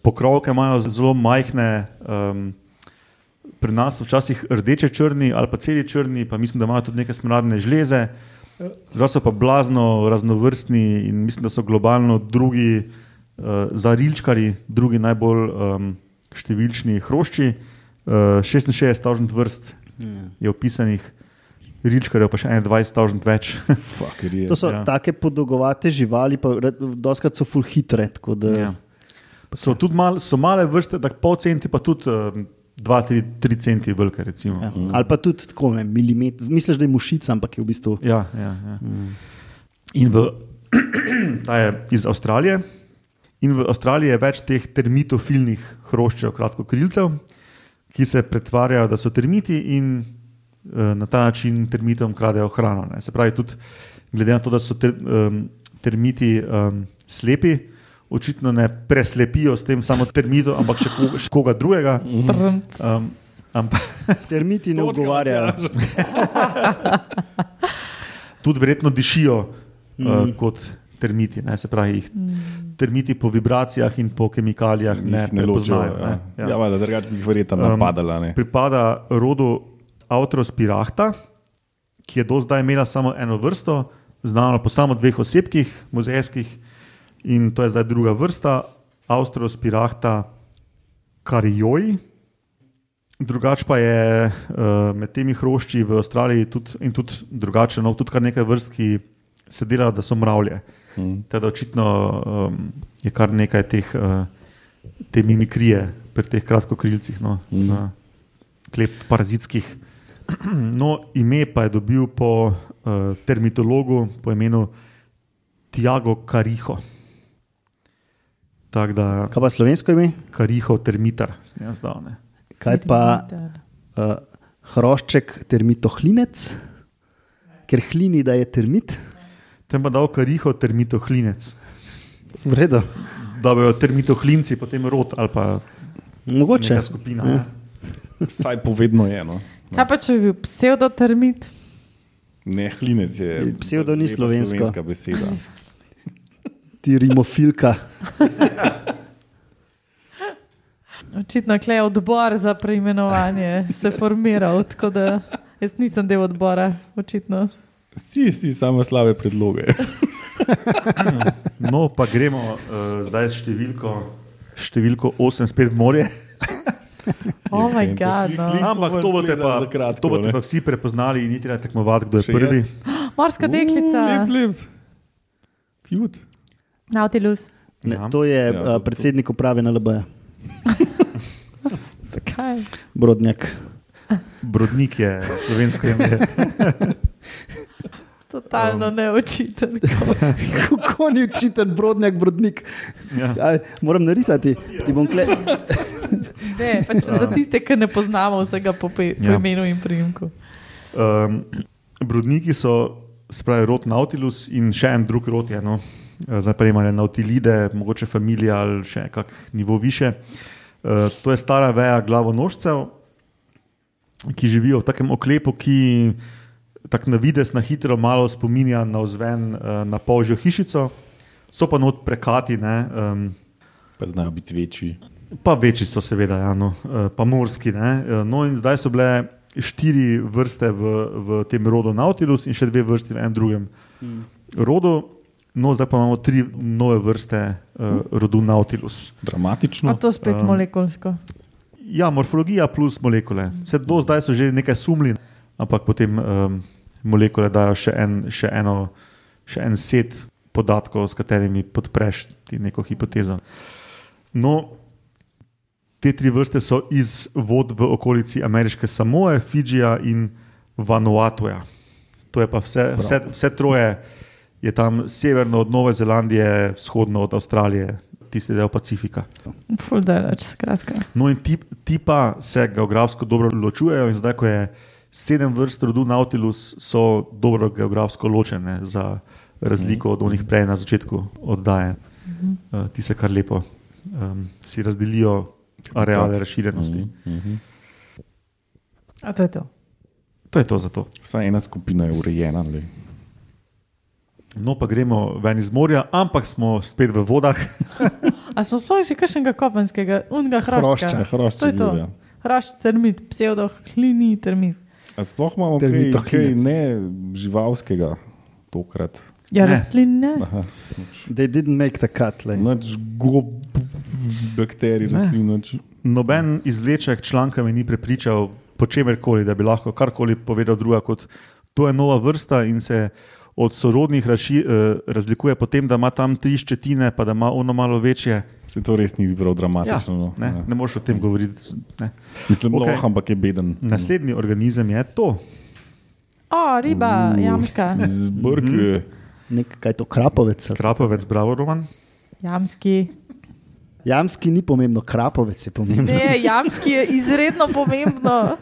Pokrovke imajo zelo majhne, um, pri nas včasih rdeče črni ali pa celi črni, pa mislim, da imajo tudi neke smradne žleze. Zdaj so pa blazno raznovrstni in mislim, da so globalno drugi uh, zarilčkari, drugi najbolj um, številčni hrošči. Uh, 66 tažnih vrst
Ja.
je opisanih, rilčkarjev pa še 21 tažnih več.
Fuckerije.
To so
Ja.
ja. take podolgovate živali, pa doskrat so full hitre. tako Da,
ja. So tudi mal, so male vrste, tako pol centi, pa tudi ehm, 2-3 centi velike. Recimo.
Ja. Ali pa tudi tako, ne, milimeter. Misliš, da je mušica, ampak je v bistvu.
Ja, ja, ja. In v, ta je iz Avstralije. In v Avstraliji je več teh termitofilnih hroščev, kratkokrilcev, ki se pretvarjajo, da so termiti in eh, na ta način termitom kradejo hrano. Ne. Se pravi, tudi glede na to, da so ter, um, termiti um, slepi, očitno ne preslepijo s tem samo termito, ampak še koga, še koga drugega.
Trnc.
Um, ampak
Termiti ne
Točka,
odgovarjajo.
tudi verjetno dišijo mm. uh, kot termiti. Ne, se pravi, jih termiti po vibracijah in po kemikalijah ne,
Jih ne ločijo.
prepoznajo,
Ja,
ne.
ja. ja drugače bi jih verjetno napadala. ne.
Pripada rodu Avtrospirahta, ki je do zdaj imela samo eno vrsto, znano po samo dveh osebkih, muzejskih, in to je zdaj druga vrsta, Avtrospirahta karijoji. Drugač pa je eh, med temi hrošči v Avstraliji tudi, in tudi drugače, no, tudi kar nekaj vrst, ki se delajo, da so mravlje. Mm. Teda očitno um, je kar nekaj teh, uh, te mimikrije pri teh kratkokrilcih, no, mm. uh, kleptoparazitskih. No, ime pa je dobil po uh, termitologu po imenu Tiago Kariho. Tako da,
Kaj pa slovensko ime?
Kariho termitar, s njim zdavne.
Kaj pa uh, hrošček termitohlinec, ker hlini, da je termit.
Tem pa dal kariho termitohlinec,
Vredo.
da bojo termitohlinci potem rod ali pa
Mogoče. Ja.
neka skupina. Ne?
Vsaj povedno je. No.
Kaj pa če bi Ja, pač bil pseudotermit?
Ne, hlinec je.
Psevdo ni
lepa
slovensko.
slovenska beseda.
Ti rimofilka.
Očitno je odbor za preimenovanje se formiral, tako da jaz nisem del odbora, očitno.
Si, si, samo slabe predloge.
No, pa gremo uh, zdaj s številko, številko 8 spet v morje.
Oh moj
Klim,
bog.
pošli
No.
klim.
Ampak to boste pa,
Za kratko,
to boste
ne.
pa vsi prepoznali in ni treba tekmovati, kdo je
Še
prvi.
jaz?
Morska deklica,
Lep, lep. Kjut.
Nautilus.
Ne,
Ja.
to je
Ja, to-
ja,
to-
predsednik uprave na LB,
Zakaj?
Brodnjak.
Brodnik je slovensko ime.
Totalno um. neočiten.
Kako ni učitelj, Brodnjak, Brodnik?
Ja.
A, moram narisati, ti bom kle.
Ne, pač za tiste, ki ne poznamo vsega po, pe, po
Ja.
imenu in priimku.
Um, brodniki so, se pravi, rod Nautilus in še en drug rod je. No. Eh, Zdaj pa imajo Nautilide, mogoče familija ali še kak nivo više. Eh, To je stara veja glavonožcev, ki živijo v takem oklepu, ki tako na vides, na hitro, malo spominja na ozven, eh, na polžjo hišico, so pa not prekati. Ne, um,
Pa znajo biti večji.
Pa večji so, seveda, ja, no. Eh, pa morski. Ne? Eh, No, in zdaj so bile štiri vrste v, v tem rodu Nautilus in še dve vrsti v enem drugem mm. rodu. No, zdaj pa imamo tri nove vrste uh, rodu Nautilus.
A
Dramatično.
to spet
um,
um. molekulsko.
Ja, morfologija plus molekule. Se do zdaj so že nekaj sumli, ampak potem um, molekule dajo še, en, še, eno, še en set podatkov, s katerimi podpreš ti neko hipotezo. No, te tri vrste so iz vod v okolici ameriške Samoe, Fidžija in Vanuatuja. To je pa vse, vse, vse troje. Je tam severno od Nove Zelandije, vzhodno od Avstralije, tisti del Pacifika.
Fuldelač, skratka.
No, in ti, ti pa se geografsko dobro ločujejo, in zdaj, ko je sedem vrst rodu Nautilus, so dobro geografsko ločene, za razliko od onih prej na začetku oddaje. Uh, ti se kar lepo um, si razdelijo areale razširjenosti.
A to je to.
To je to za to.
Vsaj ena skupina je urejena. Le.
No, pa gremo ven iz morja, ampak smo spet v vodah.
A smo sploh še kakšnega kopenskega, unga
Hrošča.
hrošča.
Hrošče
To je to.
Julija.
Praš termit, pseudohlini termit.
A sploh imamo kaj,
Termitohlinec.
kaj ne živalskega tokrat.
Ja,
Ne.
rastline.
Aha.
They didn't make the cut. Like.
Noč gob, bakterij, rastlin, noč.
Noben izvleček članka me ni prepričal, po čemer koli, da bi lahko karkoli povedal druga. Kot to je nova vrsta in se od sorodnih raši, eh, razlikuje po tem, da ima tam tri ščetine, pa da ima ono malo večje.
Se to res ni
Ja,
prav dramatično. no.
ne,
Ja.
ne moreš o tem govoriti. Ne.
Mislim,
Okej.
okay. lahko, ampak je beden.
Naslednji organizem je to.
O, riba, jamska.
Zbrke.
Nek, kaj je to krapovec? ali?
Krapovec, bravo, Roman.
Jamski.
Jamski ni pomembno, krapovec je pomembno.
Ne, jamski je izredno pomembno.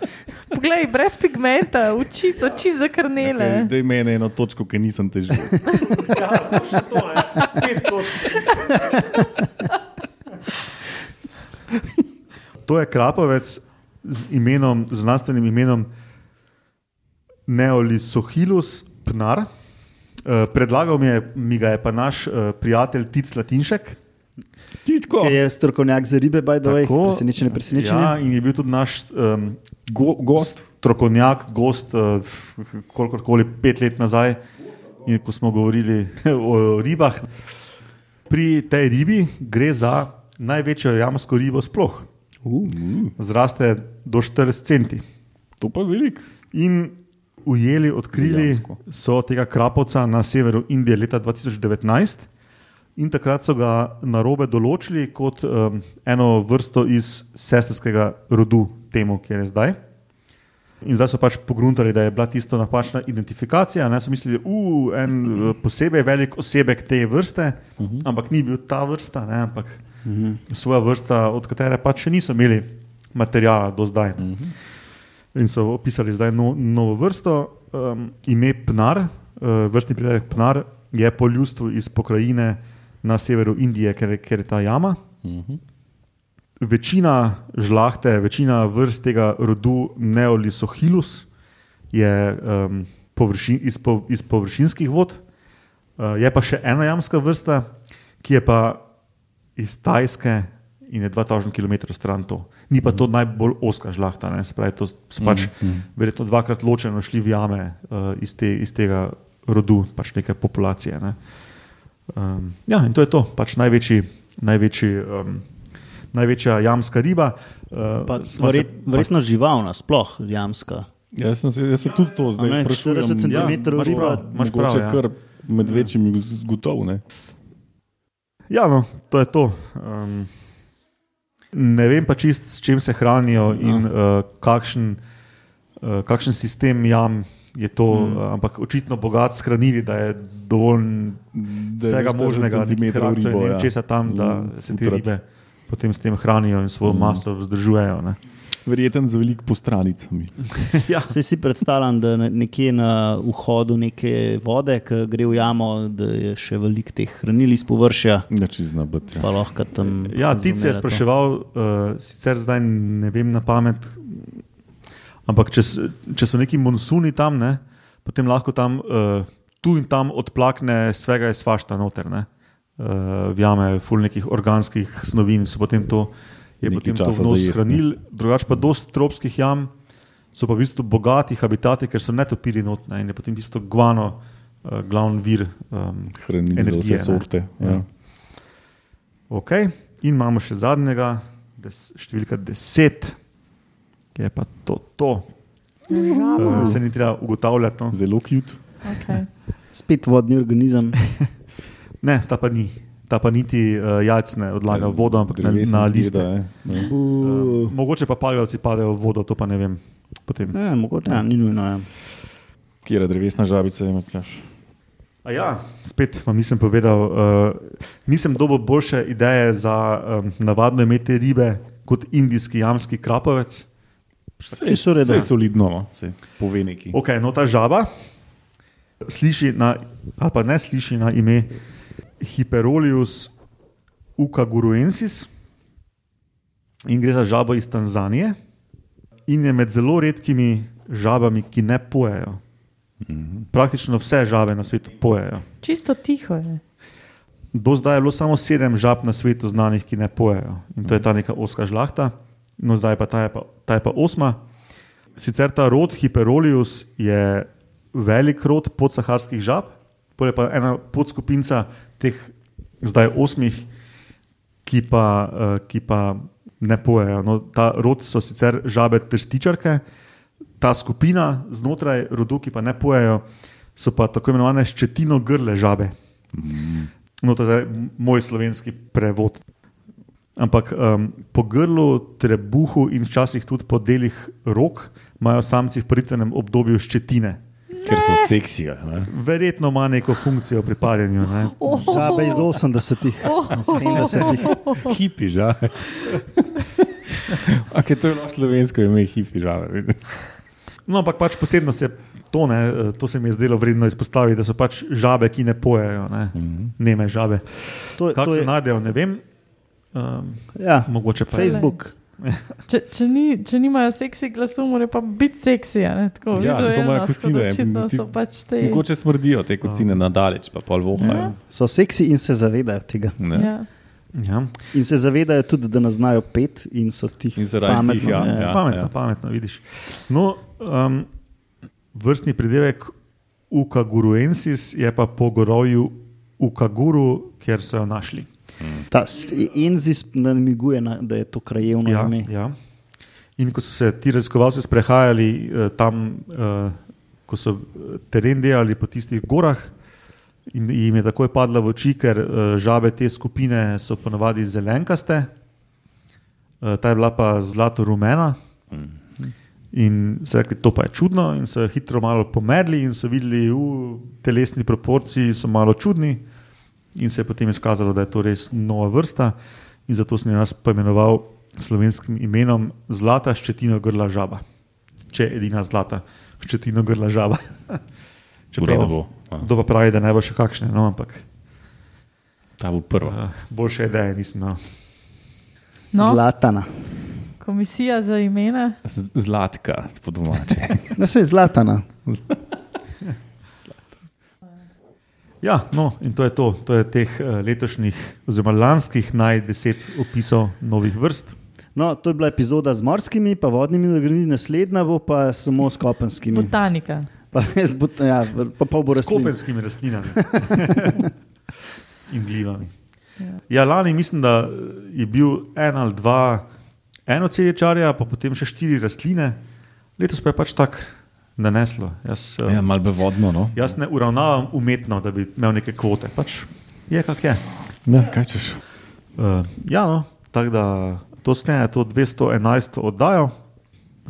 Poglej, brez pigmenta, oči so čisto zakrnele.
Daj meni eno točko, ki nisem težil.
To je krapovec z imenom, z znanstvenim imenom Neolisohilus Pnar. Eh, Predlagal mi, je, mi ga je pa naš eh, prijatelj Tic Latinšek.
Titko,
Ki je strokovnjak za ribe, by the way,
Tako.
presenečenje, presenečenje.
Ja, in je bil tudi naš um,
go, gost.
strokovnjak, gost, uh, kolikorkoli pet let nazaj, in ko smo govorili o ribah. Pri tej ribi gre za največjo jamsko ribo sploh.
Uh, mm,
Zraste do 40 centi.
to pa je velik.
In ujeli, odkrili
Dejansko.
so tega krapovca na severu Indije leta 2019. In takrat so ga na robe določili kot um, eno vrsto iz sestrskega rodu, temu, kjer je zdaj. In zdaj so pač pogruntali, da je bila tisto napačna identifikacija. Ne so mislili, da je en eh, posebej velik osebek te vrste, uh -huh. ampak ni bil ta vrsta, ne, ampak uh -huh. svoja vrsta, od katere pač še niso imeli materijala do zdaj. Uh -huh. In so opisali zdaj no, novo vrsto, um, ime Pnar, uh, vrstni pridelek Pnar je po ljudstvu iz pokrajine na severu Indije, ker, ker je ta jama. Večina žlahte, večina vrst tega rodu Neolisohilus je um, površin, iz, po, iz površinskih vod. Uh, je pa še ena jamska vrsta, ki je pa iz Tajske in je 2000 km stran to. Ni pa to najbolj oska žlahta, ne, se pravi, to so pač verjetno dvakrat ločeno šli v jame uh, iz, te, iz tega rodu, pač neke populacije. Ne. Um, ja, in to je to, pač največji, največji, um, največja jamska riba. Uh,
Pa,
sva se-
verjet, verjetno živalna, sploh jamska.
Jaz sem se, jaz se tudi to zdaj
A ne,
sprašujem. Ja,
40 centimetrov
imaš prav.
riba.
Imaš
mogoče
prav, ja.
kar med večjimi zgotov. Ne?
Ja, no, to je to. Um, ne vem pa čist, s čim se hranijo in
Ja.
no. uh, kakšen, uh, kakšen sistem jam je to,
Mhm.
mm. uh, ampak očitno bogat shranili, da je dovolj
Da je
vsega
40
možnega, nekih
centimetrov
hrabcev in
ribo,
ne vem
ja.
česa tam, da
Mm,
se te
utrat. Mhm.
ribe potem s tem hranijo in svojo mm. maso vzdržujejo. ne.
Verjeten z veliko postranicami.
ja.
Saj si predstavljam, da ne- nekje na vhodu neke vode, ki gre v jamo, da je še veliko teh hranil iz površja,
Neči znabati.
pa lahko tam.
Ja, ti si
razumela
je
to.
spraševal, uh, sicer zdaj ne vem na pamet, ampak če, s- če so neki monsuni tam, ne, potem lahko tam uh, tu in tam odplakne svega iz fašta noter. Ne. Uh, Vjame, ful nekih organskih snovi in so potem to, je
Nekaj
potem to
časa za
vnos
jesti, ne.
hranil. Drugače pa dost tropskih jam so pa v bistvu bogati habitati, ker so netopiri notne in je potem v bistvu guano uh, glavni vir um,
Hranili za
energije. ne.
vse sorte. Ja.
Ok, in imamo še zadnjega, des, številka 10, ki je pa to. to. Uh,
Žaba.
se ni treba ugotavljati. No.
Zelo kjut.
Okay.
Spet vodni organizem.
Ne, ta pa ni. Ta pa niti uh, jajc ne odlaga v vodo, ampak na, na liste.
ja,
Uh, mogoče pa paljavci padejo v vodo, to pa ne vem. Potem.
Ja, mogoče ja, ni nujno. Ja.
Kjer je drevesna žabica, imaš.
A Ja, spet vam nisem povedal, uh, nisem dobil boljše ideje za um, navadno imeti ribe kot indijski jamski krapovec.
čisto v redu.
Vse je solidno, no. Saj pove neki.
Ok, no ta žaba sliši na, ali pa ne sliši na ime Hyperolius ukaguruensis in gre za žabo iz Tanzanije in je med zelo redkimi žabami, ki ne pojejo. Praktično vse žabe na svetu pojejo.
Čisto tiho je.
Do zdaj je bilo samo sedem žab na svetu znanih, ki ne pojejo. In to je ta neka oska žlahta, no zdaj pa ta je pa, ta je pa osma. Sicer ta rod Hiperolius je velik rod podsaharskih žab, pol je pa ena podskupinca teh zdaj osmih, ki pa, eh, ki pa ne pojejo. No, ta rod so sicer žabe trstičarke, ta skupina znotraj rodu, ki pa ne pojejo, so pa tako imenovane ščetino grle žabe. No, to je zdaj moj slovenski prevod. Ampak um, po grlu, trebuhu in včasih tudi po delih rok imajo samci v pritvenem obdobju ščetine.
ker so seksi. a ne.
Verjetno ima neko funkcijo pri parjenju. Ne?
Oh. Žabe iz 80-ih, 70-ih.
Hipi žave. okay, to je lahko slovensko ime, hipi žave.
No, ampak pač posebnost je to, ne, e, to se mi je zdelo vredno izpostaviti, da so pač žabe, ki ne pojejo, ne, mm -hmm. neme žabe.
To,
Kako
to
se
je
nadejo, ne vem. Um,
ja,
mogoče pa je.
Facebook.
Če, če, ni, če nimajo seksi glasu, mora pa biti seksi. a Ne, tako,
Ja, zato
vizualno,
imajo
tako da
kocine,
Očitno
ti-
so pač te.
Mogoče smrdijo te kocine nadaleč, pa pol vohajo.
So seksi in se zavedajo tega.
Ne.
Ja.
Ja.
In se zavedajo tudi, da nas znajo pet in so tihi.
In zaradi
pametno,
tih, ja,
ne.
ja.
pametno, pametno, vidiš. No, um, vrstni pridevek Ukaguruensis je pa po gorovju Ukaguru, kjer so jo našli.
Ta s- Enzis namiguje, na, da je to krajevno
Ja,
ime.
ja. In ko so se ti raziskovalci sprehajali eh, tam, eh, ko so eh, teren delali po tistih gorah, in jim je takoj padla v oči, ker eh, žabe te skupine so ponavadi zelenkaste, eh, ta je bila pa zlato rumena. In so rekli, to pa je čudno, in so jo hitro malo pomerili, in so videli, da telesni proporci so malo čudni, in se je potem izkazalo, da je to res nova vrsta. In zato sem jo jaz poimenoval slovenskim imenom Zlata ščetino grla žaba. Če je edina zlata ščetino grla žaba. Če
Bravo.
Kdo pa pravi, da ne bo še kakšne, no, ampak
Ta bo prva.
uh, boljše ideje nisem imel.
No.
No,
Zlatana.
komisija za imena.
Z- Zlatka, po domače.
Ne, se je zlatana.
Ja, no, in to je to. To je teh eh, letošnjih, oziroma lanskih najdeset opisov novih vrst.
No, to je bila epizoda z morskimi, pa vodnimi organizmi, naslednja bo pa samo s kopenskimi.
Botanika.
Pa, res bo, ja, pa pol bo
S
rastlin.
kopenskimi rastlinami in glivami. Ja, lani mislim, da je bil en ali dva enoceličarja, pa potem še štiri rastline, letos pa je pač tako naneslo. Jaz, eh,
Ja, mal bi vodno. No.
jaz ne uravnavam umetno, da bi imel neke kvote, pač je kak je.
Ja, kaj češ?
Uh, ja, no, tako da to sklene to 211 oddajo.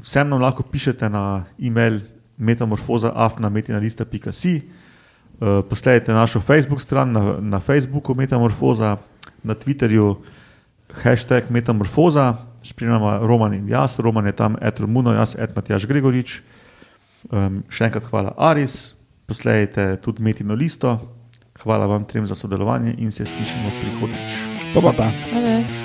Vsem nam lahko pišete na e-mail metamorfoza.afnametinalista.si. Uh, Posledite našo Facebook stran na, na Facebooku Metamorfoza, na Twitterju hashtag Metamorfoza, spremljamo Roman in jaz, Roman je tam Etromuno, jaz Etmatjaš Gregorič. Um, še enkrat hvala Aris, posledite tudi Metino listo, hvala vam trem za sodelovanje in se slišimo prihodnjič.
Pa, pa, pa.
Ade.